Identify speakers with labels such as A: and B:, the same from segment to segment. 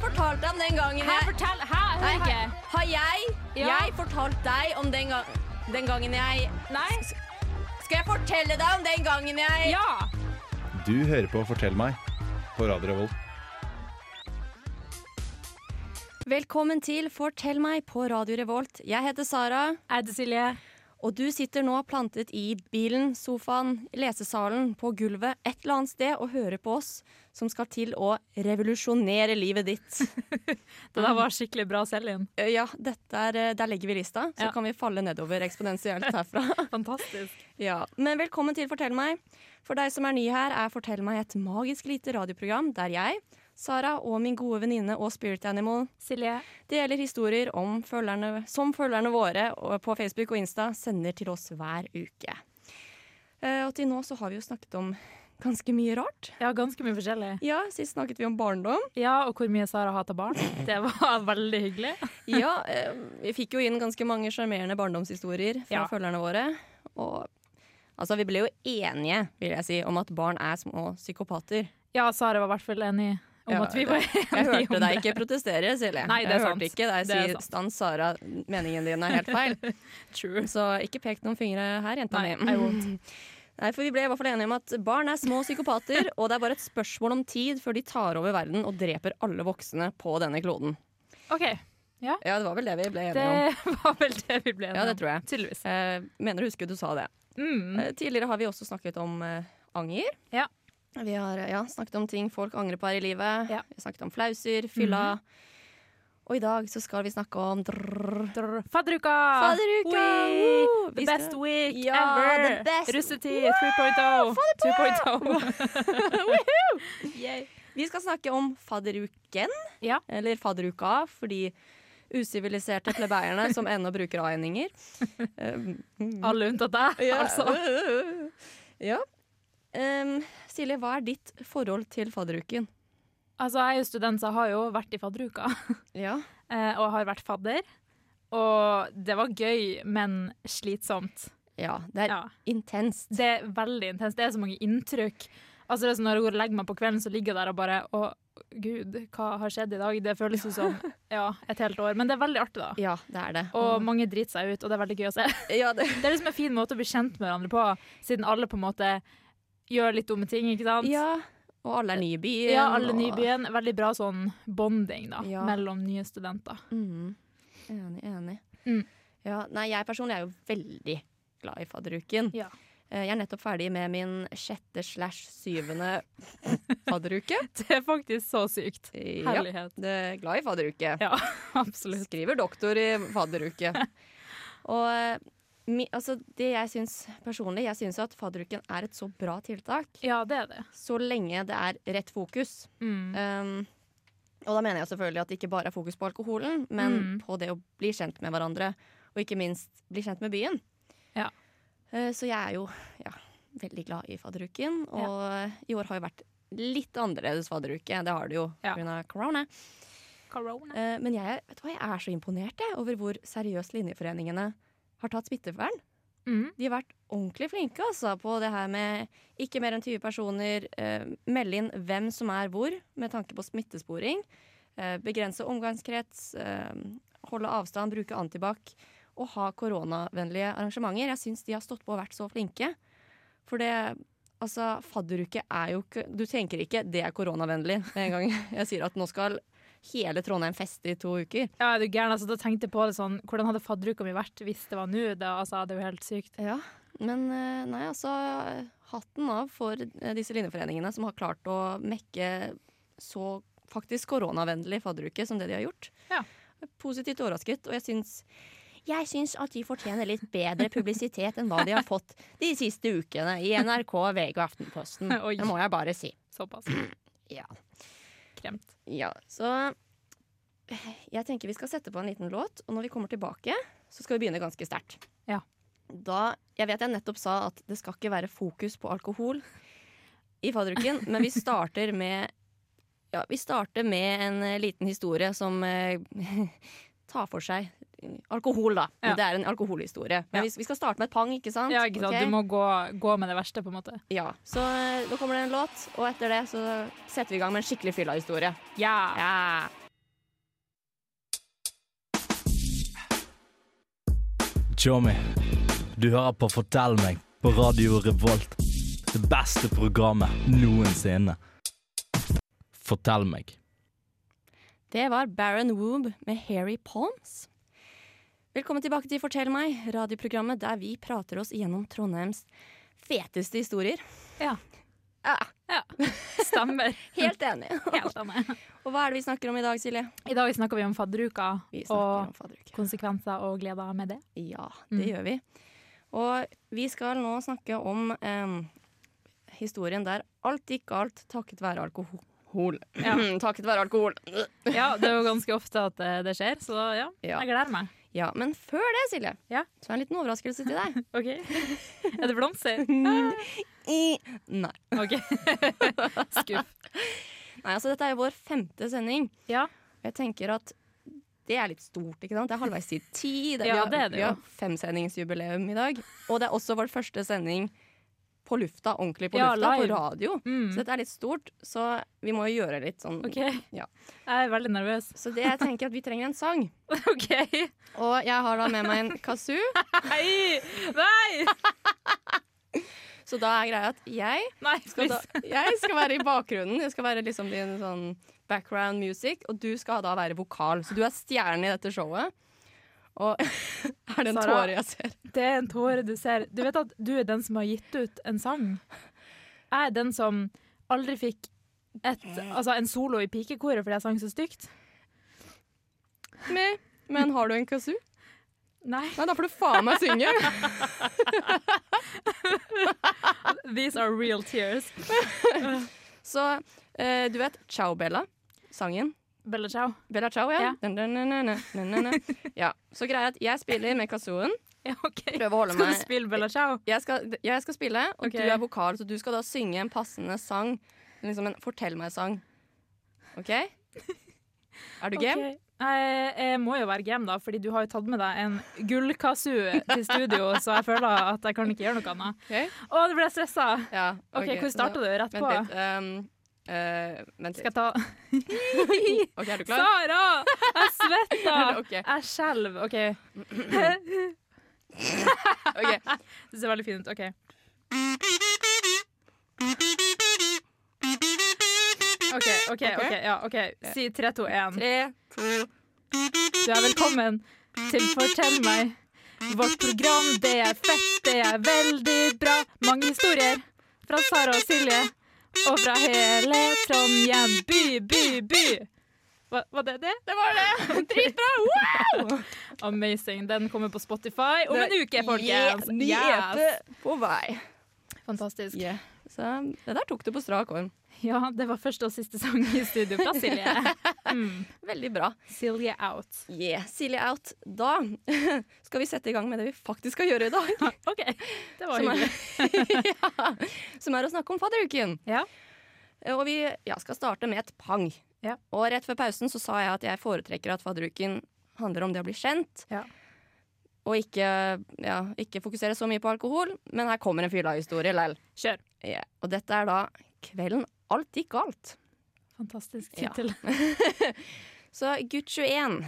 A: fortalt deg om den gangen
B: Hæ,
A: jeg
B: fortell! Hæ, jeg
A: Nei,
B: hører ikke.
A: har, har jeg,
B: Ja.
A: jeg fortalt deg om den, gang, den gangen jeg
B: Nei?
A: Skal jeg fortelle deg om den gangen jeg
B: Ja!
C: Du hører på Fortell meg på Radio Revolt.
A: Velkommen til Fortell meg på Radio Revolt. Jeg heter Sara,
B: Jeg heter Silje.
A: og du sitter nå plantet i bilen, sofaen, lesesalen, på gulvet et eller annet sted og hører på oss som skal til å revolusjonere livet ditt.
B: Det der var skikkelig bra, Selin.
A: Eh, Ja, dette er, eh, der legger vi lista, så
B: Ja.
A: kan vi falle nedover eksponentielt herfra.
B: Fantastisk.
A: ja. Men velkommen til Fortell meg. For deg som er ny her, er Fortell meg et magisk lite radioprogram der jeg, Sara og min gode venninne og Spirit Animal
B: Silje.
A: deler historier om følgerne, som følgerne våre og- på Facebook og Insta sender til oss hver uke. Eh, Og til nå så har vi jo snakket om ganske mye rart.
B: Ja, ganske mye forskjellig.
A: Ja, sist snakket vi om barndom.
B: Ja, og hvor mye Sara hater barn. Det var veldig hyggelig.
A: Ja, eh, vi fikk jo inn ganske mange sjarmerende barndomshistorier fra
B: Ja.
A: følgerne våre. Og altså, vi ble jo enige, vil jeg si, om at barn er små psykopater.
B: Ja, Sara var i hvert fall enig om
A: Ja,
B: at vi var
A: Jeg
B: enige
A: hørte
B: om
A: deg
B: det.
A: ikke protestere, Silje.
B: Nei, det er
A: jeg
B: sant.
A: hørte ikke
B: Det er
A: deg
B: sant.
A: si 'stans, Sara, meningen din er helt feil'.
B: True.
A: Så ikke pek noen fingre her, jenta
B: Nei, I
A: mi.
B: won't.
A: Nei, for Vi ble i hvert fall enige om at barn er små psykopater, og det er bare et spørsmål om tid før de tar over verden og dreper alle voksne på denne kloden.
B: OK.
A: Ja, det var vel det vi ble
B: Det
A: enige om.
B: var vel det vi ble enige om.
A: Ja, det tror jeg.
B: Tydeligvis.
A: Eh, mener å huske du sa det.
B: Mm.
A: Eh, Tidligere har vi også snakket om eh, anger.
B: Ja.
A: Vi har eh, ja, snakket om ting folk angrer på her i livet.
B: Ja. Mhm.
A: Vi har snakket om flauser, fylla. Og i dag så skal vi snakke om drrrr.
B: Drr. Fadderuka!
A: Fadderuka!
B: Wee!
A: Woo!
B: The
A: Vi
B: best
A: skal-
B: week
A: Ja,
B: ever!
A: the best-
B: Russetid oh. 3.0! 2.0! oh. Yay.
A: Vi skal snakke om fadderuken,
B: Ja.
A: eller fadderuka, for de usiviliserte plebeierne som ennå bruker a-endinger. Eh,
B: Alle unntatt deg, altså.
A: Ja. Em, Silje, hva er ditt forhold til fadderuken?
B: Altså, jeg er jo student, så jeg har jo vært i fadderuka.
A: Ja.
B: eh, Og har vært fadder. Og det var gøy, men slitsomt.
A: ja det er
B: Ja.
A: intenst.
B: Det er veldig intenst. Det er så mange inntrykk. Altså, det er sånn Når jeg går og legger meg på kvelden, så ligger jeg der og bare Å, gud, hva har skjedd i dag? Det føles jo som ja, et helt år. Men det er veldig artig, da.
A: Ja, det er det. Mm.
B: Og mange driter seg ut, og det er veldig gøy å se.
A: ja, det,
B: Det er liksom en fin måte å bli kjent med hverandre på, siden alle på en måte gjør litt dumme ting, ikke sant?
A: Ja, og alle er nye i byen.
B: Ja, alle nye i
A: og-
B: byen. Veldig bra sånn bonding da,
A: Ja.
B: mellom nye studenter.
A: Mhm. Enig, enig.
B: Mm.
A: Ja, nei, jeg personlig er jo veldig glad i fadderuken.
B: Ja.
A: Eh, Jeg er nettopp ferdig med min sjette slash syvende fadderuke.
B: Det er faktisk så sykt.
A: Ja, det
B: Herlighet.
A: er glad i fadderuke.
B: Ja, absolutt.
A: Skriver doktor i fadderuke. og eh, mi, altså, det jeg syns personlig, jeg syns jo at fadderuken er et så bra tiltak.
B: Ja, det er det.
A: Så lenge det er rett fokus.
B: Mm.
A: Um, og da mener jeg selvfølgelig at det ikke bare er fokus på alkoholen, men
B: Mm.
A: på det å bli kjent med hverandre, og ikke minst bli kjent med byen.
B: Ja.
A: Eh, så jeg er jo ja, veldig glad i fadderuken, og i år har jo vært litt annerledes fadderuke. Det har det jo
B: Ja.
A: pga. corona.
B: Corona.
A: Eh, men jeg, vet du hva, jeg er så imponert jeg, over hvor seriøst linjeforeningene har tatt smittevern.
B: Mm.
A: De har vært ordentlig flinke altså, på det her med ikke mer enn 20 personer. Eh, melde inn hvem som er hvor, med tanke på smittesporing. Eh, begrense omgangskrets. Eh, holde avstand, bruke antibac. Og ha koronavennlige arrangementer. Jeg syns de har stått på og vært så flinke. For det Altså, fadderuke er jo ikke Du tenker ikke 'det er koronavennlig' med en gang jeg sier at nå skal hele Trondheim feste i to uker.
B: Ja, er du gæren? Altså, da tenkte jeg på det sånn, hvordan hadde fadderuka mi vært hvis det var nå? Det, altså, det er jo helt sykt.
A: Ja, men eh, nei, altså Hatten av for eh, disse linjeforeningene som har klart å mekke så faktisk koronavennlig fadderuke som det de har gjort.
B: Ja.
A: Positivt overrasket, og jeg syns jeg syns at de fortjener litt bedre publisitet enn hva de har fått de siste ukene i NRK, VG og Aftenposten.
B: Oi.
A: Det må jeg bare si.
B: Såpass.
A: Ja.
B: Kremt.
A: Ja, så jeg tenker vi skal sette på en liten låt, og når vi kommer tilbake, så skal vi begynne ganske sterkt.
B: Ja.
A: Da, jeg vet jeg nettopp sa at det skal ikke være fokus på alkohol i fadderuken, men vi starter med ja, vi starter med en eh, liten historie som eh, tar for seg alkohol, da.
B: Ja.
A: Det er en alkoholhistorie. Men
B: Ja.
A: vi, vi skal starte med et pang, ikke sant?
B: Ja, ikke sant?
A: Ok?
B: Du må gå, gå med det verste, på en måte.
A: ja. Så eh, nå kommer det en låt, og etter det så setter vi i gang med en skikkelig fylla historie.
B: Ja!
A: Ja.
D: Tjommi, du hører på Fortell meg på Radio Revolt. Det beste programmet noensinne. Fortell meg.
A: Det var Baron Woob med Hairy Palms. Velkommen tilbake til Fortell meg, radioprogrammet der vi prater oss gjennom Trondheims feteste historier.
B: Ja.
A: Ja,
B: Stemmer.
A: Helt enig.
B: Helt annet.
A: Og hva er det vi snakker om i dag, Silje?
B: I dag snakker vi om fadderuka
A: Vi snakker
B: og mm.
A: om fadderuke.
B: konsekvenser og gleder med det.
A: Ja, det gjør vi. Og vi skal nå snakke om em, historien der alt gikk galt takket være alkohol.
B: Ja.
A: takket være alkohol.
B: Ja, det er jo ganske ofte at eh, det skjer, så ja,
A: Ja.
B: jeg gleder meg.
A: Ja, men før det, Silje,
B: Ja.
A: så er det en liten overraskelse til deg.
B: Ok. Er det blomster?
A: Nei.
B: Ok. Skuff.
A: Nei, altså dette er jo vår femte sending.
B: Ja.
A: Og Jeg tenker at det er litt stort, ikke sant? Det er halvveis til ti. Det,
B: Ja,
A: vi har-
B: det er det
A: Vi
B: jo.
A: har femsendingsjubileum i dag. Og det er også vår første sending på lufta, ordentlig på
B: Ja,
A: lufta,
B: live.
A: på radio. Så
B: Mm.
A: dette er litt stort, så vi må jo gjøre litt sånn.
B: Ok.
A: Ja.
B: Jeg er veldig nervøs.
A: Så det jeg tenker at vi trenger en sang.
B: Ok.
A: Og jeg har da med meg en kazoo,
B: Hei! Nei!
A: så da er greia at jeg
B: Nei,
A: skal, da,
B: please.
A: jeg skal være i bakgrunnen. Jeg skal være liksom din sånn background music, og du skal da være vokal. Så du er stjernen i dette showet. Og er det en
B: Sara.
A: tåre jeg ser?
B: Det er en tåre du ser. Du vet at du er den som har gitt ut en sang. Jeg er den som aldri fikk et, altså en solo i pikekoret fordi jeg sang så stygt.
A: Med. Men har du en kazoo?
B: Nei.
A: Nei, da får du faen meg synge.
B: These are real tears.
A: Så eh, du vet Ciao Bella, sangen.
B: Bella ciao.
A: Bella Ciao, ja.
B: Ja.
A: Dun, dun, dun, dun, dun, dun, dun. ja. Så greia er at jeg spiller med kazooen.
B: Ja, ok.
A: Prøver å holde
B: Skal du
A: meg
B: spille Bella ciao?
A: jeg skal, jeg skal spille, og
B: Ok.
A: du er vokal, så du skal da synge en passende sang. Liksom en fortell meg-sang. OK? Er du game?
B: Ok. Jeg, jeg må jo være game, da, fordi du har jo tatt med deg en gullkazoo til studio, så jeg føler at jeg kan ikke gjøre noe annet.
A: Ok.
B: Å, nå ble jeg stressa!
A: Ja,
B: OK, hvor starta du? Rett på?
A: Vent litt. Um, eh, vent
B: Skal
A: litt.
B: jeg ta
A: OK, er du klar?
B: Sara! Jeg svetter!
A: Ok.
B: Jeg skjelver. OK.
A: Ok.
B: Det ser veldig fint ut. OK. OK, OK. ok, ja, ok. Si 3, 2, 1.
A: Tre,
B: Du er velkommen til Fortell meg. Vårt program, det er fett, det er veldig bra. Mange historier fra Sara og Silje. Og fra hele Trondheim by, by, by. Hva, var det det?
A: det var det! Dritbra! Wow!
B: Amazing. Den kommer på Spotify om en
A: Det-
B: uke, folkens.
A: Yeah, ny
B: Yes.
A: EP på vei.
B: Fantastisk.
A: Så det der tok du på strak arm.
B: Ja, det var første og siste sang i studio fra Silje. Mm.
A: Veldig bra.
B: Silje out.
A: Yeah, Silje out. Da skal vi sette i gang med det vi faktisk skal gjøre i dag.
B: OK, det var
A: Som er,
B: hyggelig.
A: ja, som er å snakke om fadderuken.
B: Ja.
A: Eh, Og vi ja, skal starte med et pang.
B: Ja.
A: Og rett før pausen så sa jeg at jeg foretrekker at fadderuken handler om det å bli kjent.
B: Ja.
A: Og ikke, ja, ikke fokusere så mye på alkohol. Men her kommer en fylla-historie lell.
B: Kjør.
A: Ja, Og dette er da kvelden alt gikk galt.
B: Fantastisk
A: Ja.
B: tittel.
A: Så gutt 21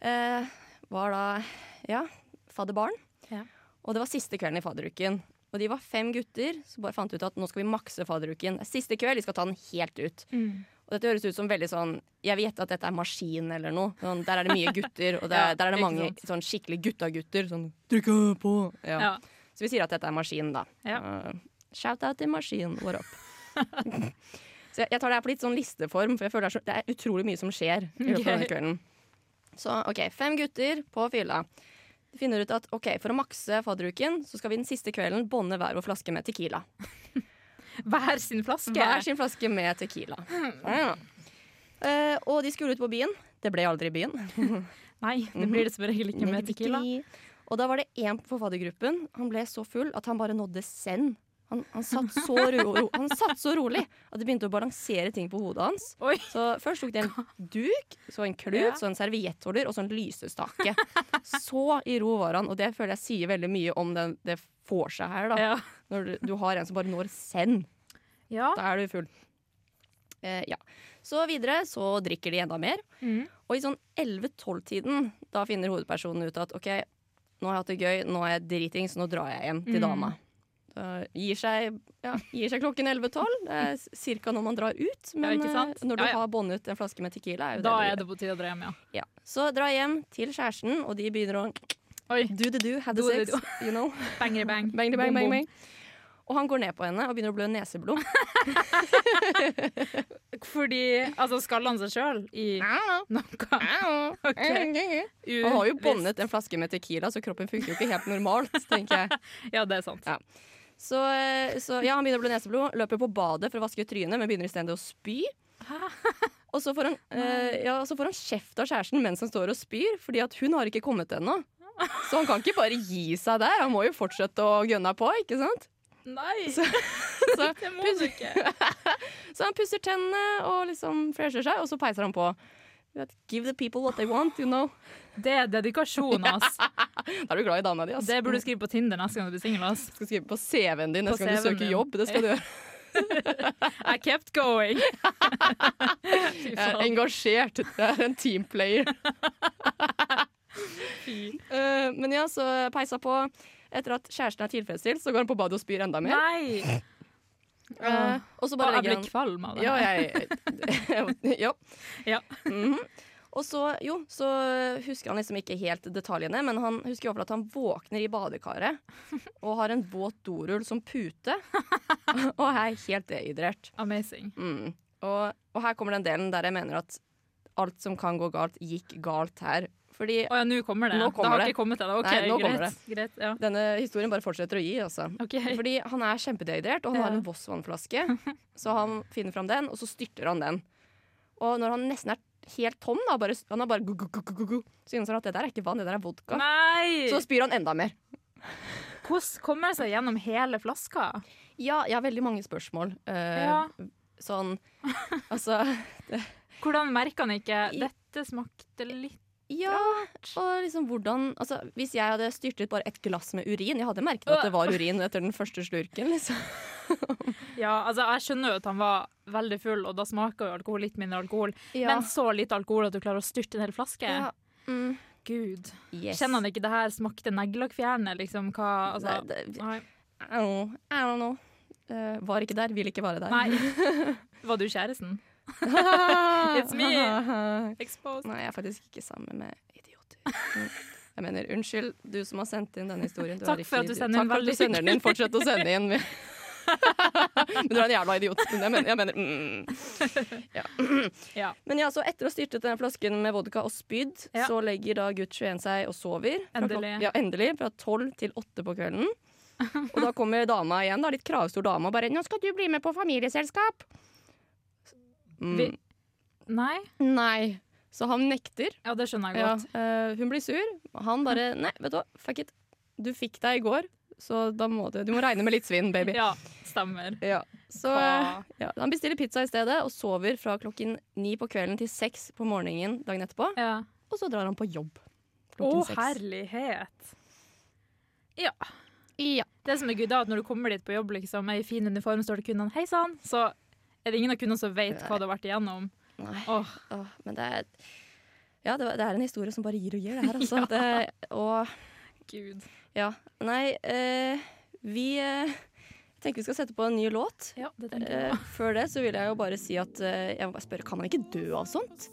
A: eh, var da ja, fadderbarn.
B: Ja.
A: Og det var siste kvelden i fadderuken. Og de var fem gutter som bare fant ut at nå skal vi makse fadderuken. Det er siste kveld, vi skal ta den helt ut.
B: Mm.
A: Og dette høres ut som veldig sånn Jeg vil gjette at dette er maskin eller noe. Sånn, der er det mye gutter, og det,
B: Ja,
A: der er det
B: ikke
A: mange
B: sant.
A: sånn skikkelig gutta-gutter. Sånn Trykk på! Ja.
B: Ja.
A: Så vi sier at dette er maskinen, da.
B: Ja.
A: Eh, shout out til maskinen vår opp. så jeg, jeg tar det her på litt sånn listeform, for jeg føler det er, så, det er utrolig mye som skjer. i løpet av denne
B: Ok.
A: kvelden. Så OK, fem gutter på fylla. De finner ut at ok, for å makse fadderuken, så skal vi den siste kvelden bånde hver vår flaske med Tequila.
B: Hver sin flaske.
A: Hver sin flaske med Tequila.
B: Hmm.
A: Ja. Eh, og de skulle ut på byen. Det ble aldri byen.
B: Nei, det blir det som regel ikke med Tequila.
A: Og da var det én på faddergruppen. Han ble så full at han bare nådde send. Han, han, satt så ro, ro, han satt så rolig at det begynte å balansere ting på hodet hans.
B: Oi.
A: Så først tok de en duk, så en klut,
B: Ja.
A: så en serviettholder og så en lysestake. Så i ro var han, og det føler jeg sier veldig mye om den, det får seg her. da.
B: Ja.
A: Når du, du har en som bare når send.
B: ja.
A: Da er du full. Eh, ja. Så videre så drikker de enda mer.
B: Mm.
A: Og i sånn 11-12-tiden da finner hovedpersonen ut at OK, Nå har jeg hatt det gøy, nå er jeg driting, så nå drar jeg hjem til
B: Mm.
A: dama. Da gir seg, ja, gir seg klokken 11-12. Det er s- cirka når man drar ut. Men
B: ikke sant?
A: eh, når du
B: Ja, ja.
A: har båndet ut en flaske med Tequila, er jo
B: Da
A: det du
B: er
A: gjør.
B: det på tide å dra hjem, ja.
A: Ja. Så dra hjem til kjæresten, og de begynner å
B: Oi,
A: do the do, have the
B: Do the
A: sex, you know.
B: bangere bang.
A: Bang, bang,
B: Bom,
A: bang,
B: bom.
A: bang. Og han går ned på henne og begynner å blø neseblod.
B: Fordi Altså, skaller han seg sjøl i noe? u-
A: Han har jo båndet en flaske med Tequila, så kroppen funker jo ikke helt normalt, tenker jeg.
B: Ja, det er sant.
A: Ja. Så, eh, så ja, han begynner å blø neseblod, løper på badet for å vaske ut trynet, men begynner i stedet å spy. Og så får han, eh, ja, så får han kjeft av kjæresten mens han står og spyr, fordi at hun har ikke kommet ennå. Så han kan ikke bare gi seg der, han må jo fortsette å gønne på, ikke sant?
B: Nei,
A: Så- så-
B: det må du ikke.
A: Så han pusser tennene og liksom fresher seg, og så peiser han på. Du vet, Give the people what they want, you know.
B: Det er dedikasjon, ass.
A: Da er du glad i dama di, ass.
B: Det burde du skrive på Tinder neste gang du blir singel, ass.
A: skal skrive på CV-en din neste
B: På
A: gang du
B: CV-en
A: søker
B: din.
A: jobb. Det skal du gjøre.
B: I kept going. Fy
A: Jeg er
B: faen.
A: Eh, engasjert. Jeg er en teamplayer.
B: Fy.
A: Eh, men ja, så peisa på. Etter at kjæresten er tilfredsstilt, så går han på badet og spyr enda mer.
B: Nei!
A: Eh, og så
B: Og
A: bare
B: jeg
A: legger
B: blir
A: han
B: kvalm av det.
A: Ja, jeg Ja.
B: Ja.
A: Mhm. Og så, jo, så husker han liksom ikke helt detaljene, men han husker i hvert fall at han våkner i badekaret og har en våt dorull som pute, og er helt dehydrert.
B: Amazing.
A: Mm. Og, og her kommer den delen der jeg mener at alt som kan gå galt, gikk galt her. Fordi
B: Å ja, nå kommer det.
A: Nå
B: det
A: kommer
B: har
A: det.
B: ikke kommet til det. Ok,
A: Nei, nå kommer
B: greit. greit ja.
A: denne historien bare fortsetter å gi, altså.
B: Ok.
A: Fordi han er kjempedehydrert, og han har
B: Ja.
A: en Voss-vannflaske. Så han finner fram den, og så styrter han den. Og når han nesten er helt tom, da, bare, han har bare gu, gu, gu, gu, gu, gu, så innser han at det der er ikke vann, det der er vodka.
B: Nei!
A: Så spyr han enda mer.
B: Hvordan kommer det seg gjennom hele flaska?
A: Ja, jeg har veldig mange spørsmål. eh,
B: Ja.
A: Sånn Altså
B: Hvordan merker han ikke Dette smakte litt
A: Ja, og liksom hvordan altså, Hvis jeg hadde styrtet bare et glass med urin Jeg hadde merket at det var urin etter den første slurken. Liksom.
B: Ja, altså jeg skjønner jo at han var veldig full, og da smaker jo alkohol litt mindre alkohol. Men så lite alkohol at du klarer å styrte en hel flaske?
A: ja. Mm.
B: Gud.
A: Yes.
B: Kjenner han ikke det her smakte neglelakkfjerne, liksom? Hva Altså.
A: Nei, det-
B: Nei.
A: I don't know. I don't know. Eh, var ikke der, vil ikke være der.
B: Nei. Var du kjæresten? It's me. Exposed.
A: Nei, jeg er faktisk ikke sammen med idioter. Mm. Jeg mener, unnskyld, du som har sendt inn denne historien.
B: Takk
A: er ikke
B: for at du
A: idiot.
B: sender inn
A: Takk for at du
B: veldig
A: sender den inn. Fortsett å sende inn. Men du er en jævla idiot. Men Jeg mener, jeg mener mm.
B: Ja.
A: Men ja, så etter å ha styrtet denne flasken med vodka og spydd,
B: Ja.
A: så legger da gutt 21 seg og sover. Fra klok-
B: Endelig.
A: Ja, endelig. Fra 12 til 8 på kvelden. Og da kommer dama igjen, da, litt kravstor dame, og bare 'Nå skal du bli med på familieselskap'. Mm.
B: Vi, nei?
A: Nei. Så han nekter.
B: Ja, det skjønner jeg
A: Ja,
B: godt. Mm.
A: eh, hun blir sur. Han bare Nei, vet du hva, fuck it. Du fikk deg i går, så da må du Du må regne med litt svinn, baby.
B: Ja, stemmer.
A: Ja. Så eh,
B: Hva?
A: ja, han bestiller pizza i stedet og sover fra klokken ni på kvelden til seks på morgenen dagen etterpå.
B: Ja.
A: Og så drar han på jobb
B: Å,
A: klokken seks.
B: herlighet. Ja.
A: Ja.
B: Det som er gøy, da, at når du kommer dit på jobb liksom, med ei fin uniform, står det kundene 'hei sann', så er det ingen av kundene som vet hva du har vært igjennom.
A: Nei.
B: Åh,
A: Åh, men det er Ja, det, var- det er en historie som bare gir og gir, det her, altså. det, og
B: gud.
A: ja. Nei, eh, vi eh, tenker vi skal sette på en ny låt.
B: Ja, det tenker jeg.
A: Eh, før det så vil jeg jo bare si at eh, jeg må bare spørre, kan man ikke dø av sånt?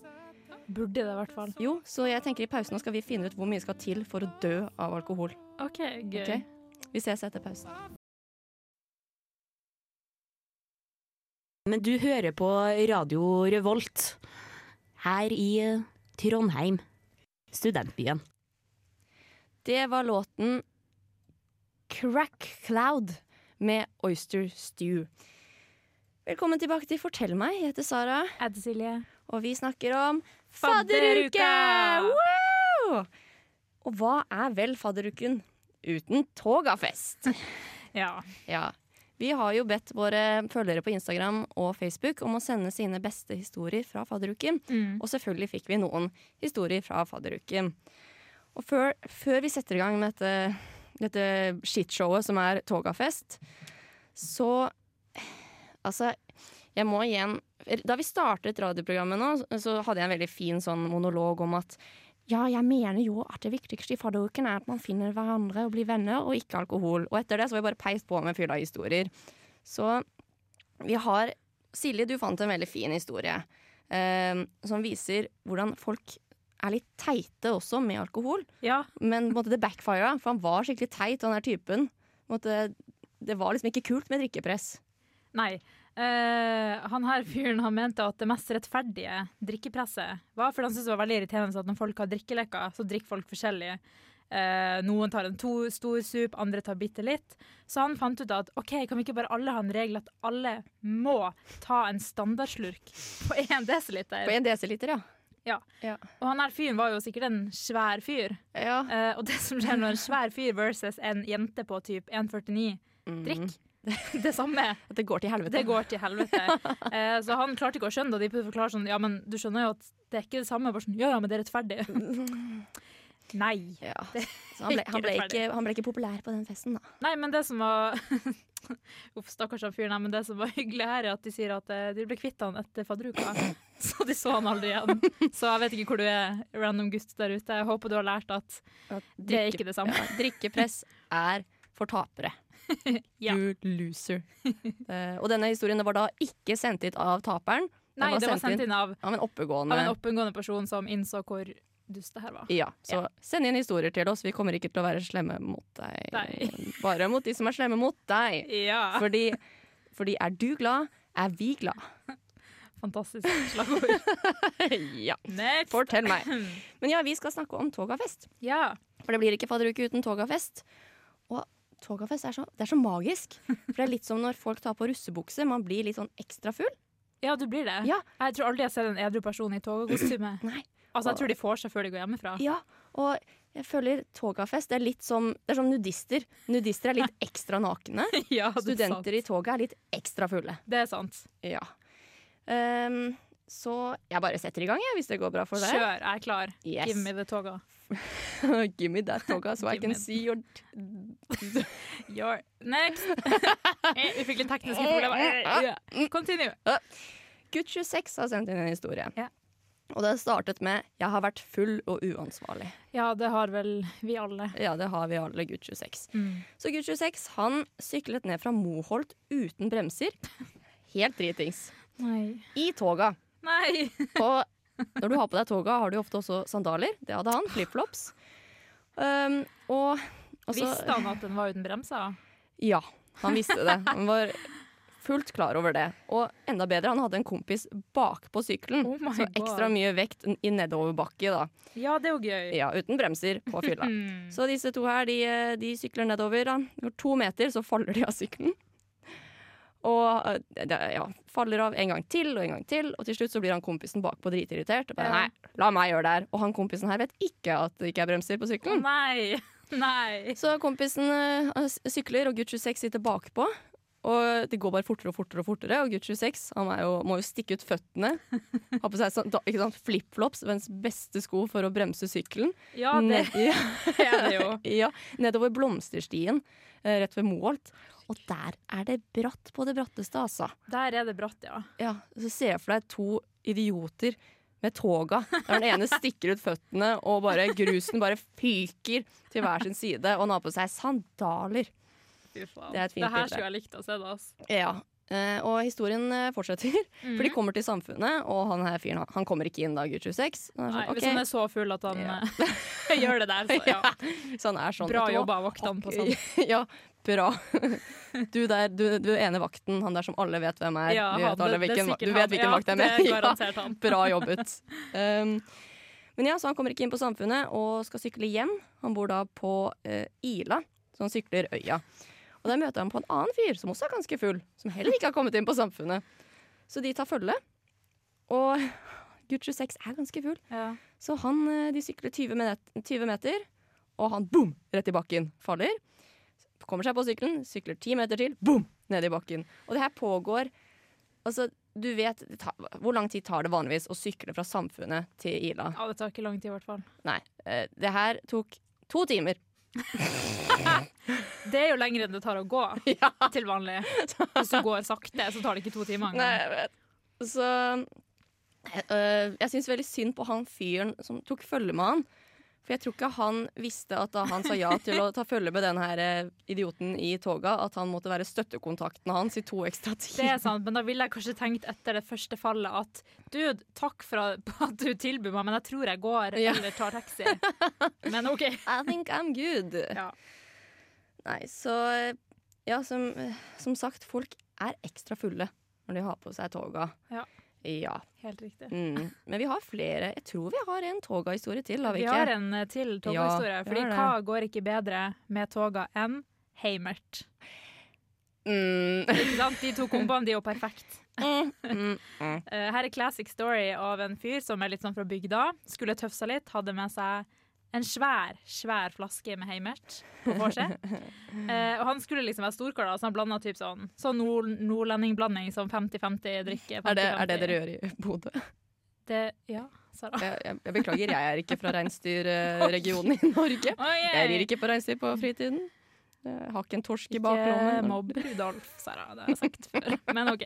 B: Burde det, i hvert fall.
A: Jo, så jeg tenker i pausen nå skal vi finne ut hvor mye skal til for å dø av alkohol.
B: OK, gøy.
A: Ok? Vi ses etter pausen.
E: Men du hører på Radio Revolt her i eh, Trondheim, studentbyen.
A: Det var låten Crack Cloud med Oyster Stew. Velkommen tilbake til Fortell meg. Jeg heter Sara,
B: Jeg heter Silje.
A: og vi snakker om Fadderuke!
B: Fadderuka!
A: Wow! Og hva er vel fadderuken uten togafest?
B: Ja.
A: Ja. Vi har jo bedt våre følgere på Instagram og Facebook om å sende sine beste historier fra fadderuken.
B: Mm.
A: Og selvfølgelig fikk vi noen historier fra fadderuken. Og før, før vi setter i gang med dette, dette shitshowet som er Togafest, så Altså, jeg må igjen Da vi startet radioprogrammet nå, så hadde jeg en veldig fin sånn monolog om at Ja, jeg mener jo at det viktigste i fadderuken er at man finner hverandre og blir venner, og ikke alkohol. Og etter det så har vi bare peist på med fylla historier. Så vi har Silje, du fant en veldig fin historie eh, som viser hvordan folk er litt teite også med alkohol.
B: Ja.
A: Men på en måte, det backfira, for han var skikkelig teit, han der typen. På en måte, det var liksom ikke kult med drikkepress.
B: Nei. Eh, han her fyren han mente at det mest rettferdige drikkepresset var fordi han syntes det var veldig irriterende at når folk har drikkeleker, så drikker folk forskjellig. Eh, noen tar en to, stor sup, andre tar bitte litt. Så han fant ut at ok, kan vi ikke bare alle ha en regel at alle må ta en standardslurk på én
A: På
B: desiliter?
A: én desiliter, ja.
B: Og han her fyren var jo sikkert en svær fyr.
A: ja.
B: Eh, og det som skjer når en svær fyr versus en jente på typ 1,49 drikk det samme
A: At det går til helvete.
B: det går til helvete. Eh, så han klarte ikke å skjønne det. og De prøvde å forklare sånn, ja, men du skjønner jo at det er ikke det samme. Bare sånn, ja, ja, men det er rettferdig. Nei.
A: Ja. Så han ble, han, ble
B: Ikke
A: ikke, han ble ikke populær på den festen, da.
B: Nei, men det som var Uff, stakkars han fyren her, men det som var hyggelig her, er at de sier at eh, de ble kvitt han etter fadderuka. Så de så han aldri igjen. Så jeg vet ikke hvor du er, random gutt der ute. Jeg håper du har lært at det er ikke det samme.
A: Ja, drikkepress er for tapere.
B: Ja.
A: You loser. Eh, og denne historien var da ikke sendt hit av taperen. Den
B: Nei, det var sendt inn av,
A: av en oppegående.
B: av en oppegående person som innså hvor dust det her var.
A: ja, så send inn historier til oss. Vi kommer ikke til å være slemme mot deg.
B: Nei.
A: Bare mot de som er slemme mot deg.
B: Ja.
A: Fordi, fordi er du glad, er vi glad.
B: Fantastisk slagord.
A: ja.
B: Next.
A: Fortell meg. Men ja, vi skal snakke om togafest.
B: Ja.
A: For det blir ikke fadderuke uten togafest. Og togafest er så, det er så magisk. For det er litt som når folk tar på russebukse. Man blir litt sånn ekstra full.
B: Ja, du blir det.
A: Ja.
B: Jeg tror aldri jeg har sett en edru person i togakostyme.
A: Nei.
B: Altså, jeg tror de får seg før de går hjemmefra.
A: Ja, og jeg føler togafest det er litt som, det er som nudister. Nudister er litt ekstra nakne.
B: ja,
A: Studenter i toget er litt ekstra fulle.
B: Det er sant.
A: Ja. Ehm, så jeg bare setter i gang, jeg, hvis det går bra for deg.
B: Kjør, jeg er klar.
A: Yes.
B: Give me the toga.
A: Give me that toga, so I
B: Give
A: can
B: me-
A: see your
B: Your next. Eh, Vi fikk litt tekniske problemer. Eh, ja. Continue.
A: Gutt26 har sendt inn en historie.
B: Ja.
A: Og det startet med 'Jeg har vært full og uansvarlig'.
B: Ja, det har vel vi alle.
A: Ja, det har vi alle, Gutt26.
B: Mm.
A: Så Gutt26 han syklet ned fra Moholt uten bremser. Helt dritings.
B: Nei.
A: I toga.
B: Nei.
A: på, når du har på deg toga, har du jo ofte også sandaler. Det hadde han. Flipflops. Um, og altså- og så-
B: Visste han at den var uten bremser?
A: Ja, han visste det. Han var fullt klar over det. Og enda bedre, han hadde en kompis bakpå sykkelen.
B: Oh my
A: så ekstra
B: God.
A: mye vekt i nedoverbakke, da.
B: Ja, det er jo gøy.
A: Ja, uten bremser på fylla.
B: Mm.
A: Så disse to her, de, eh, de sykler nedover. Da. Går to meter, så faller de av sykkelen. Og eh, det- ja, faller av en gang til og en gang til, og til slutt så blir han kompisen bakpå dritirritert. Og bare,
B: Ja.
A: nei, la meg gjøre det her. Og han kompisen her vet ikke at det ikke er bremser på
B: Å,
A: sykkelen.
B: Nei. Nei.
A: Så kompisen eh, han s- sykler, og gutt 26 sitter bakpå. Og det går bare fortere og fortere, og fortere Og gutt 26 han er jo, må jo stikke ut føttene. Har på seg sånn, da- ikke sant, flipflops, verdens beste sko for å bremse sykkelen.
B: Ja, det
A: Ned- ja.
B: er det jo.
A: Ja, nedover Blomsterstien, eh, rett ved Moholt. Og der er det bratt på det bratteste, altså.
B: Der er det bratt, ja.
A: Ja, så ser jeg for deg to idioter med toga. Der den ene stikker ut føttene, og bare grusen bare fyker til hver sin side. Og han har på seg sandaler.
B: Fy faen.
A: Det er et fint
B: Det her
A: bilde.
B: skulle jeg likt å se, da. ass.
A: Ja, eh, og historien eh, fortsetter. For
B: Mhm.
A: de kommer til samfunnet, og han her fyren han- han kommer ikke inn da, gutt 26. Han er
B: Nei,
A: sånn,
B: Hvis han
A: ok.
B: er så full at han
A: Ja.
B: eh, gjør det der, så ja.
A: Så han er sånn
B: Bra
A: vet du hva?
B: jobba av vaktene på sånn.
A: ja, bra. Du der, du, du ene vakten, han der som alle vet hvem er.
B: Ja,
A: Vi
B: han,
A: vet
B: det- det
A: alle
B: er
A: hvilken,
B: sikkert
A: du vet
B: han.
A: hvilken
B: Ja,
A: vakt det er
B: det
A: med.
B: er garantert han.
A: bra jobbet. Um, men ja, så han kommer ikke inn på Samfunnet og skal sykle hjem. Han bor da på eh, Ila, så han sykler øya. Og der møter han på en annen fyr som også er ganske full, som heller ikke har kommet inn på Samfunnet. Så de tar følge. Og gutt 26 er ganske full,
B: Ja.
A: så han, eh, de sykler 20 meter, 20 meter og han boom, rett i bakken, faller. Kommer seg på sykkelen, sykler 10 meter til, boom, ned i bakken. Og det her pågår Altså, du vet det tar, Hvor lang tid tar det vanligvis å sykle fra Samfunnet til Ila?
B: ja, det tar ikke lang tid, i hvert fall.
A: Nei, eh, det her tok to timer.
B: Det er jo lenger enn det tar å gå
A: Ja,
B: til vanlig. Hvis du går sakte, så tar det ikke to timer
A: nei,
B: engang.
A: jeg vet. Så Eh, jeg syns veldig synd på han fyren som tok følge med han. For jeg tror ikke han visste at da han sa ja til å ta følge med den her eh, idioten i toga, at han måtte være støttekontakten hans i to ekstra
B: Det
A: timer.
B: er sant, men da ville jeg kanskje tenkt etter det første fallet at Dude, takk for at at du tilbyr meg, men jeg tror jeg går
A: Ja.
B: eller tar taxi. Men OK.
A: I think I'm good.
B: Ja.
A: Nei, så eh, Ja, som, eh, som sagt, folk er ekstra fulle når de har på seg toga.
B: Ja.
A: ja.
B: Helt riktig.
A: Mm. Men vi har flere. Jeg tror vi har en toga-historie til, har vi
B: Vi
A: ikke?
B: har en eh, til toghistorie.
A: Ja, vi
B: fordi
A: har det.
B: hva går ikke bedre med toga enn heimert?
A: Mm.
B: Ikke sant? De to komboene de er jo perfekt.
A: Mm, mm, mm.
B: Eh, her er classic story av en fyr som er litt sånn fra bygda. Skulle tøfsa litt, hadde med seg en svær, svær flaske med heimert på vorset. Eh, og han skulle liksom være storkål, da, så han blanda typ sånn sånn nord nordlendingblanding, sånn 50-50 drikke. 50
A: Er, det, er det dere gjør i Bodø?
B: Det, ja, Sara.
A: Jeg, jeg, jeg beklager, jeg er ikke fra reinsdyrregionen i Norge.
B: Oi,
A: Jeg rir ikke på reinsdyr på fritiden. Jeg har ikke en torsk i
B: Ikke
A: baklommen.
B: mobb Rudolf, Sara. Det har jeg sagt før. Men OK.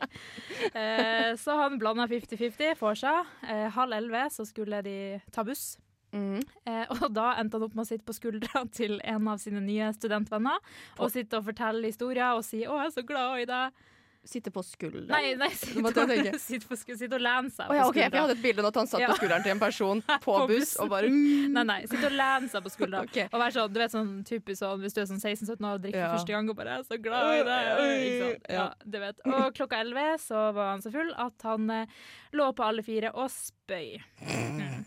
B: Eh, så han blanda 50-50 for seg. Eh, halv elleve så skulle de ta buss.
A: Mm.
B: Eh, og da endte han opp med å sitte på skuldra til en av sine nye studentvenner og sitte og fortelle historier og si 'Å, jeg er så glad i deg'.
A: Sitte på skulderen.
B: Nei, nei
A: Nå
B: sitte
A: måtte jeg tenke.
B: og, sitte på sku- sitte og lene seg
A: Å
B: på
A: ja, ok, for jeg
B: skuldra.
A: hadde et bilde nå at han satt
B: Ja.
A: på skulderen til en person på
B: På
A: buss og bare
B: Nei, nei, sitte og lene seg på skuldra.
A: Ok.
B: Og være sånn, du vet sånn typisk sånn hvis du er sånn 16-17 år og drikker
A: Ja.
B: første gang og bare 'Jeg er så glad i deg'. Ikke sant? Ja, du vet. Og klokka 11 så var han så full at han eh, lå på alle fire og spøy. Mm.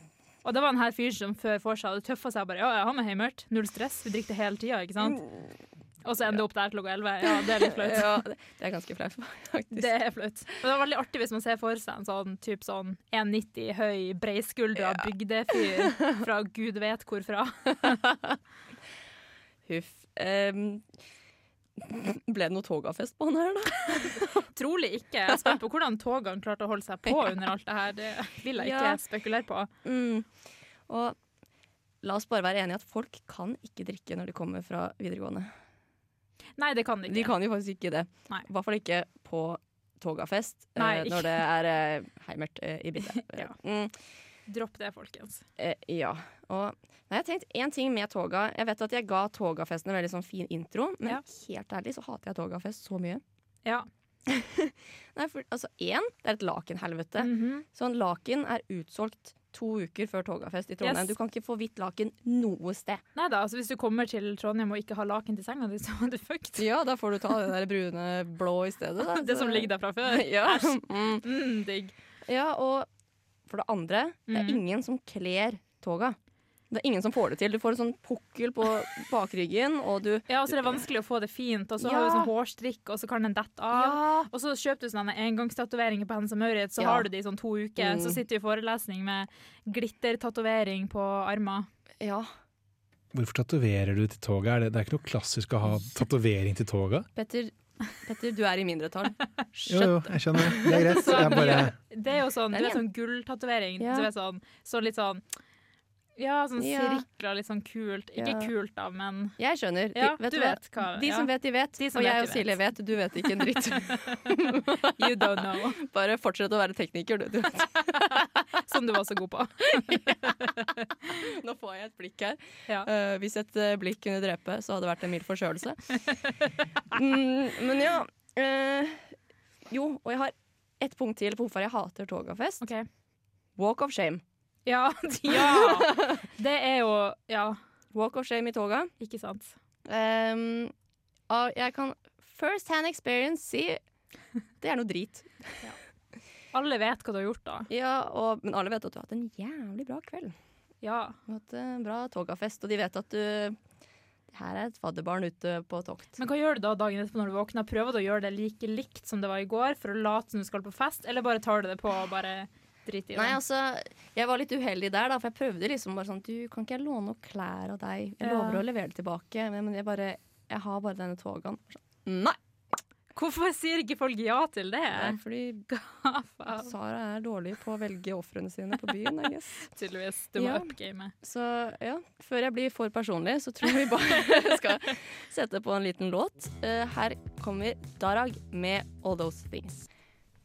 B: Og det var en her fyr som før for seg hadde tøffa seg bare 'Ja, jeg har med heimert. Null stress. Vi drikker det hele tida', ikke sant?
A: Mm.
B: Og så ender det opp der klokka 11. Ja, det er litt flaut.
A: Ja, det det er ganske flaut, faktisk.
B: Det er flaut. Men det var veldig artig hvis man ser for seg en sånn, typ sånn 1,90 høy, breiskuldra bygdefyr fra gud vet hvor fra.
A: Huff. Em, ble det noe togafest på han her, da?
B: Trolig ikke. Jeg er spent på hvordan togene klarte å holde seg på under alt det her. Det vil jeg ikke
A: Ja.
B: spekulere på.
A: Mm. Og la oss bare være enige at folk kan ikke drikke når de kommer fra videregående.
B: Nei, det kan det
A: De
B: ikke.
A: kan jo faktisk ikke det.
B: Nei.
A: I hvert fall ikke på togafest eh,
B: Nei, ikke.
A: når det er eh, heimert eh, i bildet.
B: Ja.
A: Mm,
B: Dropp det, folkens.
A: eh, ja. Og nei, jeg tenkte én ting med toga. Jeg vet at jeg ga togafesten en veldig sånn fin intro, men
B: Ja.
A: helt ærlig så hater jeg togafest så mye.
B: Ja.
A: Nei, for altså én, det er et lakenhelvete.
B: Mhm.
A: Sånn laken er utsolgt to uker før togafest i Trondheim.
B: Yes.
A: Du kan ikke få hvitt laken noe sted.
B: Nei da, altså hvis du kommer til Trondheim og ikke har laken til senga di, så er du fucked.
A: Ja, da får du ta det der brune blå i stedet. Da,
B: Det som ligger der fra før.
A: Ja. Mm.
B: Mm, digg.
A: Ja, og for det andre, det er
B: Mhm.
A: ingen som kler toga. Det er ingen som får det til. Du får en sånn pukkel på bakryggen, og du
B: Ja, og så er det vanskelig å få det fint, og så
A: Ja.
B: har du sånn hårstrikk, og så kan den dette av.
A: Ja.
B: Og så kjøper du sånne engangstatoveringer på Hennes og Maurits, så
A: Ja.
B: har du det i sånn to uker.
A: Mm.
B: Så sitter du i forelesning med glittertatovering på armer.
A: ja.
F: Hvorfor tatoverer du til toget? Er det, det er ikke noe klassisk å ha tatovering til toget?
A: Petter, Petter, du er i mindretall.
F: Jo, jo, jeg skjønner. Det er greit. Jeg bare
B: Det er jo sånn,
A: Den
B: du vet
A: igjen.
B: sånn gulltatovering.
A: Ja.
B: Du vet sånn, så litt sånn Ja, sånn
A: Ja.
B: sirkler, litt sånn kult. Ikke
A: Ja.
B: kult, da, men
A: Jeg skjønner. De,
B: Ja,
A: vet
B: du
A: du hva?
B: vet hva-
A: De
B: ja.
A: som vet, de vet.
B: De som
A: og
B: vet,
A: jeg
B: de
A: og Silje vet. Du vet ikke en dritt.
B: you don't know.
A: Bare fortsett å være tekniker, du. du.
B: Som du var så god på.
A: Nå får jeg et blikk her.
B: Ja.
A: Eh, hvis et eh, blikk kunne drepe, så hadde det vært en mild forkjølelse. mm, men ja. eh, jo, og jeg har ett punkt til på hvorfor jeg hater togafest.
B: OK.
A: Walk of shame.
B: Ja, ja! Det er jo Ja,
A: Walk of shame i toga.
B: ikke sant.
A: Ehm, og jeg kan first hand experience si det er noe drit.
B: Alle vet hva du har gjort, da.
A: Ja, og, men alle vet at du har hatt en jævlig bra kveld.
B: Ja.
A: Du har hatt en bra togafest, og de vet at du det her er et fadderbarn ute på tokt.
B: Men hva gjør du da dagen etterpå når du våkner? Prøver du å gjøre det like likt som det var i går, for å late som du skal på fest, eller bare tar du det på og bare driter i det?
A: Nei, altså, jeg var litt uheldig der, da, for jeg prøvde liksom bare sånn Du, kan ikke jeg låne noen klær av deg? Jeg
B: Ja.
A: lover å levere det tilbake, men men jeg bare Jeg har bare denne togaen. Sånn, Nei!
B: Hvorfor sier ikke folk ja til det?
A: Det er fordi
B: Hva faen?
A: Sara er dårlig på å velge ofrene sine på byen, I guess.
B: Tydeligvis. Du må
A: Ja.
B: upgame.
A: Så ja, før jeg blir for personlig, så tror jeg vi bare skal sette på en liten låt. Eh, Her kommer Darag med All Those Things.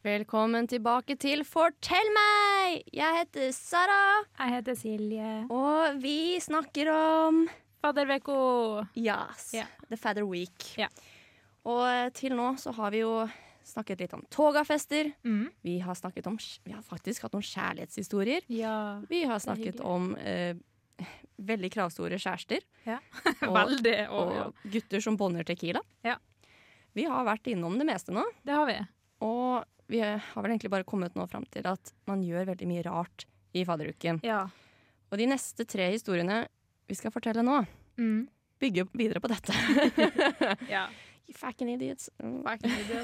A: Velkommen tilbake til Fortell meg! Jeg heter Sara,
B: Jeg heter Silje.
A: og vi snakker om
B: Fadderveko.
A: Yes,
B: Ja.
A: The Father Week.
B: Ja.
A: Og eh, til nå så har vi jo snakket litt om togafester.
B: Mm.
A: Vi har snakket om kj- Vi har faktisk hatt noen kjærlighetshistorier.
B: Ja.
A: Vi har
B: Det er
A: snakket om eh, veldig kravstore kjærester.
B: Ja.
A: og,
B: Veldig.
A: og
B: Og, ja.
A: gutter som bånder tequila.
B: Ja.
A: Vi har vært innom det meste nå,
B: Det har vi.
A: og vi har vel egentlig bare kommet nå fram til at man gjør veldig mye rart i fadderuken.
B: Ja.
A: Og de neste tre historiene vi skal fortelle nå,
B: Mm.
A: bygger videre på dette.
B: ja.
A: Fucking idiots. Mm.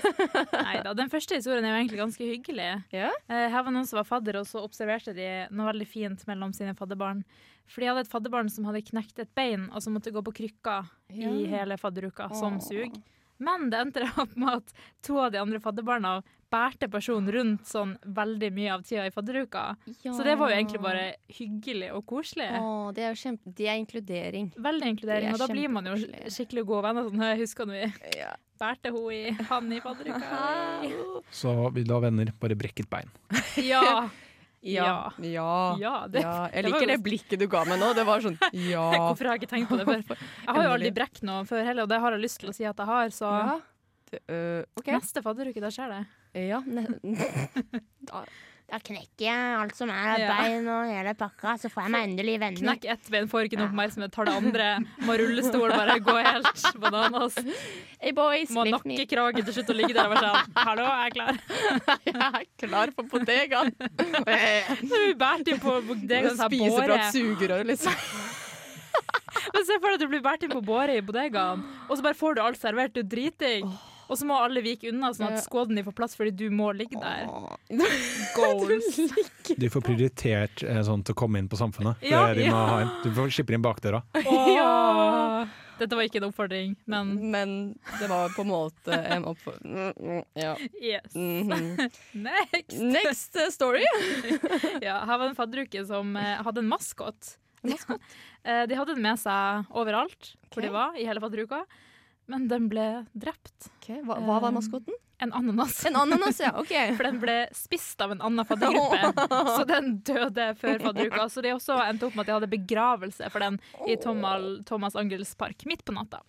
B: Neida, Den første historien er jo egentlig ganske hyggelig.
A: Ja.
B: Eh, Her var noen som var fadder, og så observerte de noe veldig fint mellom sine fadderbarn. For de hadde et fadderbarn som hadde knekt et bein, og som måtte gå på krykker i hele fadderuka, som
A: Åh.
B: sug. Men det endte opp med at to av de andre fadderbarna bærte personen rundt sånn veldig mye av tida i fadderuka. Så det var jo egentlig bare hyggelig og koselig.
A: Åh, det er jo kjempe... Det er inkludering.
B: Veldig
A: Det
B: inkludering,
A: er
B: og da blir man jo
A: kjempekoselig.
B: skikkelig gode venner. Sånn, jeg husker når vi
A: Ja.
B: bærte hun i han i fadderuka.
F: Så vi la venner bare brekke et bein.
B: Ja.
A: Ja.
B: Ja. ja, det, det
A: Jeg
B: var
A: liker
B: jo-
A: det blikket du ga meg nå. Det var sånn ja.
B: Hvorfor har jeg ikke tenkt på det før? Jeg har jo aldri brekt noe før heller, og det har jeg lyst til å si at jeg har, så
A: Ja. Det, øh, OK.
B: neste fadderuke, da skjer det.
A: Ja. ne- Da-
E: Da knekker jeg alt som er
B: av Ja.
E: bein og hele pakka, så får jeg meg endelig venner.
B: Knekk ett bein, får ikke noe oppmerksomhet, tar det andre, må rullestol, bare gå helt bananas.
A: Hey boys,
B: Må
A: lift me.
B: nakke kragen til slutt og ligge der og være sånn Hallo, jeg er klar.
A: Jeg er klar for bodegaen.
B: Så har vi båret inn på bodegaen, så sånn her
A: Spiser
B: båre.
A: fra et sugerør, liksom.
B: Men se for deg at du blir båret inn på båre i bodegaen, og så bare får du alt servert, du er driting. Og så må alle vike unna, sånn at skåden din får plass, fordi du må ligge der. Goals.
F: Du får prioritert eh, sånn til å komme inn på samfunnet. Det
B: Ja,
F: er de må
B: ja.
F: ha inn. Du får- slipper inn bakdøra.
B: Åh. Dette var ikke en oppfordring, men
A: Men det var på en måte en oppfordring. Mm, Ja.
B: yes.
A: Mhm.
B: Next!
A: Next eh, story.
B: Ja, her var det en fadderuke som eh, hadde en maskot. En maskot? Eh, de hadde den med seg overalt
A: Ok.
B: hvor de var, i hele fadderuka. Men den ble drept. hva
A: hva,
B: var
A: var maskoten?
B: En ananas.
A: Um, En ananas, ja. OK.
B: For den ble spist av en annen faddergruppe. Så den døde før fadderuka. Så de også endte opp med at de hadde begravelse for den i Thomas, Thomas Angels park midt på natta.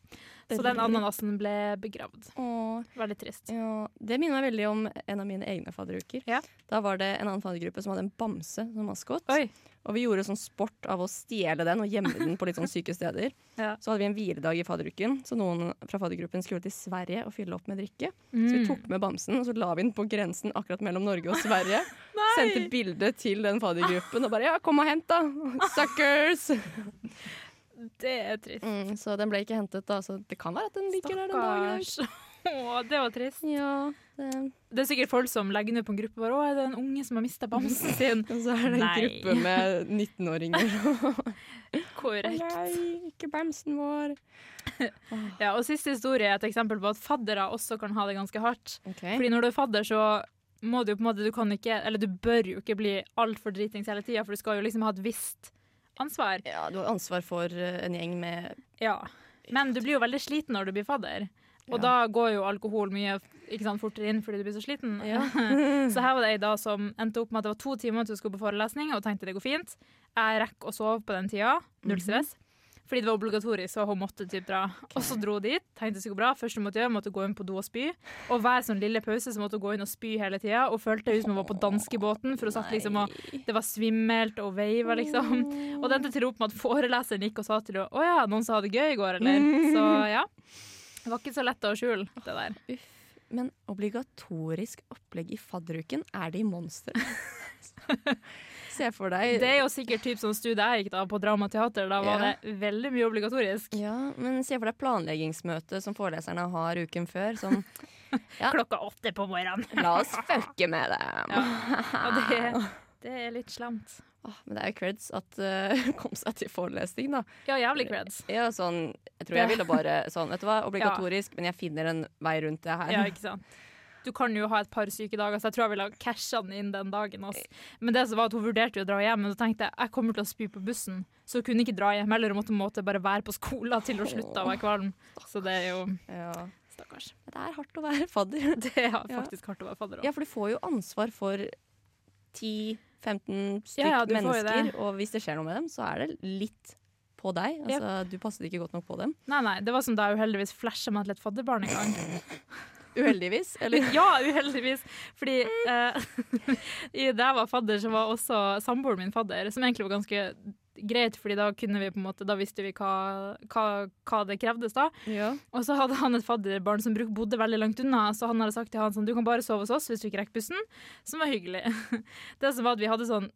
B: Så den ananasen ble begravd.
A: Åh,
B: Veldig trist.
A: Ja, det minner meg veldig om en av mine egne fadderuker.
B: Ja.
A: Da var det en annen faddergruppe som hadde en bamse som maskot.
B: Oi.
A: Og vi gjorde sånn sport av å stjele den og gjemme den på litt sånn syke steder.
B: Ja.
A: Så hadde vi en hviledag i fadderuken, så noen fra faddergruppen skulle til Sverige og fylle opp med drikke. Så
B: Mm.
A: vi tok med bamsen, og så la vi den på grensen akkurat mellom Norge og Sverige. Sendte bilde til den faddergruppen og bare 'ja, kom og hent, da'. Suckers!
B: Det er trist.
A: Mm, så den ble ikke hentet, da. Så det kan være at den ligger der den dag i dag.
B: Stakkars. Å, det var trist.
A: Ja, det...
B: Det er sikkert folk som legger ned på en gruppe bare, Å, er det en unge som har mista bamsen sin?
A: Og så er det en
B: Nei.
A: gruppe med 19-åringer.
B: Korrekt.
A: ikke bamsen vår.
B: Ja, og Siste historie er et eksempel på at faddere også kan ha det ganske hardt.
A: Okay.
B: Fordi når du er fadder, så må du jo på en måte Du kan ikke, eller du bør jo ikke bli altfor dritings hele tida, for du skal jo liksom ha et visst ansvar.
A: Ja, du har ansvar for eh, en gjeng med
B: Ja. Men du blir jo veldig sliten når du blir fadder. Og
A: Ja.
B: da går jo alkohol mye ikke sant, fortere inn fordi du blir så sliten.
A: Ja.
B: så her var det ei da som endte opp med at det var to timer til hun skulle på forelesning, og tenkte det går fint. Jeg rekker å sove på den tida.
A: Mhm.
B: Null stress. Fordi det var obligatorisk, og hun måtte typ dra. Og så dro hun dit, tenkte det skulle gå bra. Første hun måtte gjøre, måtte gå inn på do og spy. Og hver sånn lille pause så måtte hun gå inn og spy hele tida, og følte ut som hun var på danskebåten, for hun satt liksom og det var svimmelt og veiva, liksom. Og det endte til opp med at foreleseren gikk og sa til henne Å ja, noen som hadde gøy i går, eller? Så ja. Det var ikke så lett å skjule, det der.
A: Uff. Men obligatorisk opplegg i fadderuken, er de monstre? Se for deg
B: Det er jo sikkert typ sånn studie jeg gikk da på dramateater. Da var
A: Eh. Ja.
B: det veldig mye obligatorisk.
A: ja, men se for deg planleggingsmøtet som foreleserne har uken før. Som
B: Klokka åtte på morgenen.
A: 'la oss fucke med dem'.
B: Ja. Og det, det er litt slemt.
A: Åh, men det er jo creds at uh, kom seg til forelesning, da.
B: Ja, jævlig creds.
A: Ja, sånn, jeg tror jeg ville bare sånn Vet du hva, obligatorisk, men jeg finner en vei rundt det her.
B: Ja, ikke sant. Du kan jo ha et par syke dager, så jeg tror jeg ville ha casha den inn den dagen. Ass. Men det som var at hun vurderte jo å dra hjem, men så tenkte jeg jeg kommer til å spy på bussen. Så hun kunne ikke dra hjem heller, hun måtte, måtte bare være på skolen til hun slutta å være kvalm. Så det er jo
A: Ja.
B: Stakkars.
A: Det det er hardt å være fadder.
B: Det er
A: Ja.
B: faktisk hardt å være fadder òg.
A: Ja, for du får jo ansvar for 10-15 stykk
B: Ja, ja, du får jo
A: mennesker,
B: det.
A: og hvis det skjer noe med dem, så er det litt på deg. Altså, Du passet ikke godt nok på dem.
B: Nei, nei, det var som da jeg uheldigvis flasha meg til et fadderbarn en gang.
A: Uheldigvis. Eller
B: Ja, uheldigvis! Fordi eh, i- da jeg var fadder, så var også samboeren min fadder, som egentlig var ganske greit, fordi da kunne vi på en måte, da visste vi hva, hva, hva det krevdes da.
A: ja.
B: Og så hadde han et fadderbarn som bruk- bodde veldig langt unna, så han hadde sagt til han sånn, du kan bare sove hos oss hvis du ikke rekker bussen, som var hyggelig. Det som var at vi hadde sånn,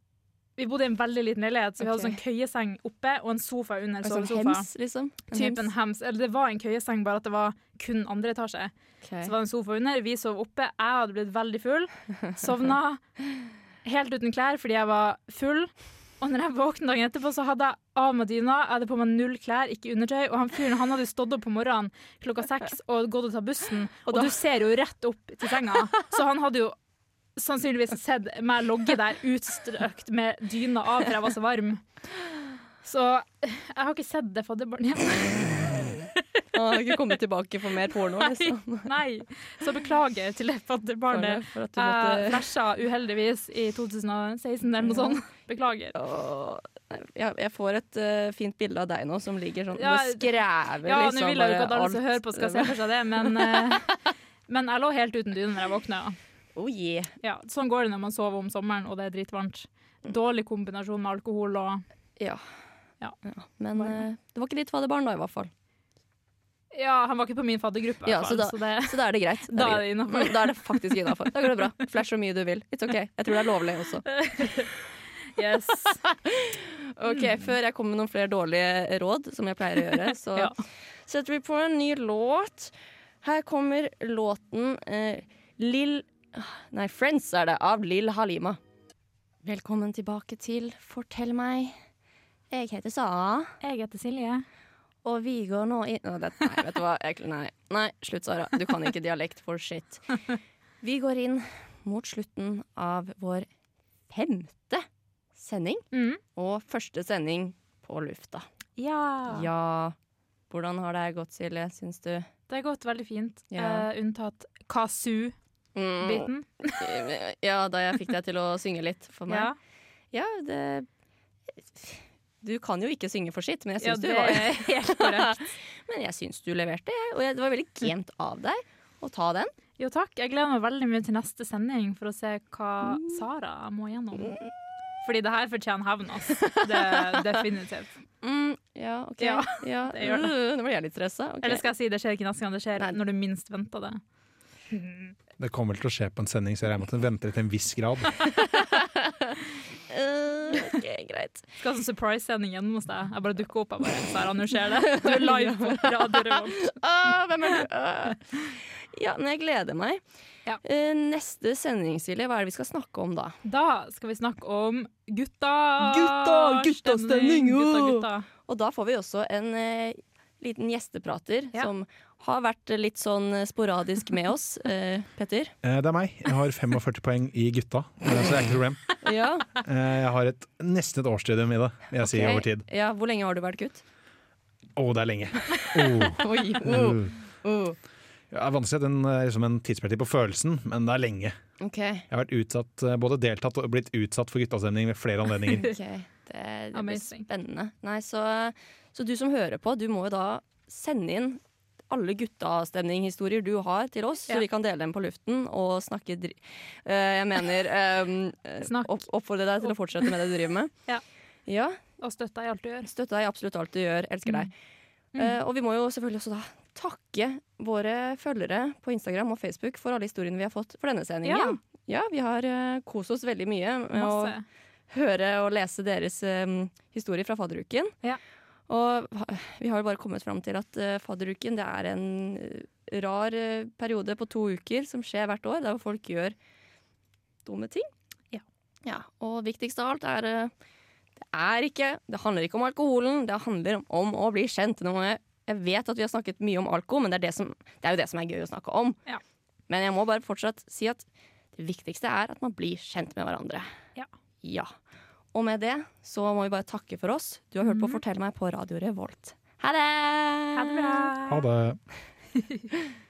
B: vi bodde i en veldig liten leilighet, så vi hadde
A: Ok.
B: sånn køyeseng oppe og en sofa under
A: sånn
B: sovesofa.
A: hems, liksom. En
B: Typen
A: hems.
B: hems. Eller det var en køyeseng, bare at det var kun andre etasje.
A: Ok.
B: Så var det en sofa under, vi sov oppe, jeg hadde blitt veldig full, sovna helt uten klær fordi jeg var full. Og når jeg våkna dagen etterpå, så hadde jeg av meg dyna, jeg hadde på meg null klær, ikke undertøy. Og han fyren han hadde jo stått opp på morgenen klokka seks og gått og tatt bussen, og, du ser jo rett opp til senga. Så han hadde jo sannsynligvis sett meg logge der utstrøkt med dyna av, for jeg var så varm. Så jeg har ikke sett det fadderbarnet igjen.
A: Han har ikke kommet tilbake for mer porno, liksom.
B: Nei. Så beklager til det fadderbarnet.
A: For at du
B: Jeg
A: måtte...
B: eh, flasha uheldigvis i 2016 eller noe sånt. Beklager.
A: Åh, nei, Jeg, jeg får et eh, fint bilde av deg nå som ligger sånn
B: Ja,
A: og skrever
B: Ja, nå vil
A: liksom
B: jeg jo
A: bare
B: ikke at alle som
A: alt.
B: hører på skal se for seg det, men, eh, men jeg lå helt uten dyne når jeg våkna. ja.
A: Oh yeah.
B: Ja, sånn går det når man sover om sommeren og det er dritvarmt. Dårlig kombinasjon med alkohol og
A: Ja.
B: Ja.
A: Men eh, det var ikke ditt fadderbarn da, i hvert fall.
B: Ja, han var ikke på min faddergruppe, i
A: Ja,
B: hvert
A: så
B: fall,
A: da-
B: så det
A: Så da er det greit.
B: Da er
A: greit.
B: det innafor.
A: Da er det faktisk innafor. Da går det bra. Flash så mye du vil. It's ok. Jeg tror det er lovlig også.
B: Yes.
A: Ok, Før jeg kommer med noen flere dårlige råd, som jeg pleier å gjøre, så
B: Ja.
A: setter vi på en ny låt. Her kommer låten eh, Lill Nei, Friends er det, av Lill Halima. Velkommen tilbake til Fortell meg. Jeg heter Sara,
B: Jeg heter Silje.
A: og vi går nå inn Å, det, Nei, vet du hva. Jeg, nei, nei, slutt, Sara. Du kan ikke dialekt for shit. Vi går inn mot slutten av vår femte sending.
B: Mm.
A: Og første sending på lufta.
B: Ja.
A: Ja. Hvordan har det gått, Silje, syns du?
B: Det har gått veldig fint,
A: Ja.
B: eh, unntatt kazoo-biten. Mm.
A: Ja, da jeg fikk deg til å synge litt for meg.
B: Ja.
A: Ja, det Du kan jo ikke synge for sitt, men jeg
B: Ja,
A: syns
B: det
A: du var
B: er helt korrekt.
A: Men jeg syns du leverte, jeg. Og jeg- det var veldig gent av deg å ta den.
B: Jo takk, jeg gleder meg veldig mye til neste sending for å se hva
A: Mm.
B: Sara må gjennom. Fordi det her fortjener hevn, ass. Det, definitivt.
A: Mm, ja, OK.
B: Ja,
A: Ja.
B: det gjør det.
A: Uh, Nå ble jeg litt stressa. ok.
B: Eller skal jeg si det skjer ikke neste gang, det skjer
A: Nei.
B: når du minst venter det.
F: Det kommer vel til å skje på en sending, så jeg regner med at den venter til en viss grad.
A: Uh, OK, greit.
B: Skal ha sånn surprise-sending gjennom hos deg. Jeg bare dukker opp. jeg bare, Sara, nå skjer det. Du er live på Radio Revolt.
A: Ah, hvem er du? Ah. Ja, men jeg gleder meg.
B: Ja.
A: Eh, neste sending, Silje, hva er det vi skal snakke om da?
B: Da skal vi snakke om gutta.
A: Gutta, guttastemning,
B: Gutta,
A: jo.
B: gutta.
A: Og da får vi også en eh, liten gjesteprater
B: Ja.
A: som har vært litt sånn sporadisk med oss. Eh, Petter?
F: Eh, Det er meg. Jeg har 45 poeng i gutta, eh, så det er ikke noe problem.
A: Ja.
F: Eh, Jeg har et, nesten et årsstudium i det, vil jeg si, over tid.
A: ja. Hvor lenge har du vært gutt?
F: Å, det er lenge. Oh.
A: Oi,
F: Uh. Det er vanskelig å sette en, eh, liksom en tidsperspektiv på følelsen, men det er lenge.
A: Ok.
F: Jeg har vært utsatt, eh, både deltatt og blitt utsatt for guttastemning ved flere anledninger.
A: ok. Det, det blir
B: Amazing.
A: spennende. Nei, så, så du som hører på, du må jo da sende inn alle gutteavstemninghistorier du har til oss,
B: Ja.
A: så vi kan dele dem på luften og snakke dri... Eh, jeg mener ehm, eh,
B: Snakk.
A: opp, Oppfordre deg til å fortsette med det du driver med.
B: Ja.
A: ja.
B: Og støtta i alt du gjør.
A: Støtte deg i absolutt alt du gjør. Elsker deg.
B: Mm.
A: Eh, og vi må jo selvfølgelig også da takke våre følgere på Instagram og Facebook for alle historiene vi har fått for denne sendingen. Ja, vi har uh, kost oss veldig mye med
B: Masse.
A: å høre og lese deres um, historier fra fadderuken.
B: Ja.
A: Og ha- vi har jo bare kommet fram til at eh, fadderuken det er en eh, rar eh, periode på to uker som skjer hvert år, der hvor folk gjør dumme ting.
B: Ja.
A: Ja, og viktigst av alt er eh, det er ikke Det handler ikke om alkoholen, det handler om, om å bli kjent. Nå må jeg, jeg vet at vi har snakket mye om alko, men det er, det, som, det er jo det som er gøy å snakke om.
B: Ja.
A: Men jeg må bare fortsatt si at det viktigste er at man blir kjent med hverandre.
B: Ja.
A: Ja. Og med det så må vi bare takke for oss. Du har hørt
B: Mhm.
A: på Fortell meg på Radio Revolt. Ha det!
B: Ha det bra.
F: Ha det.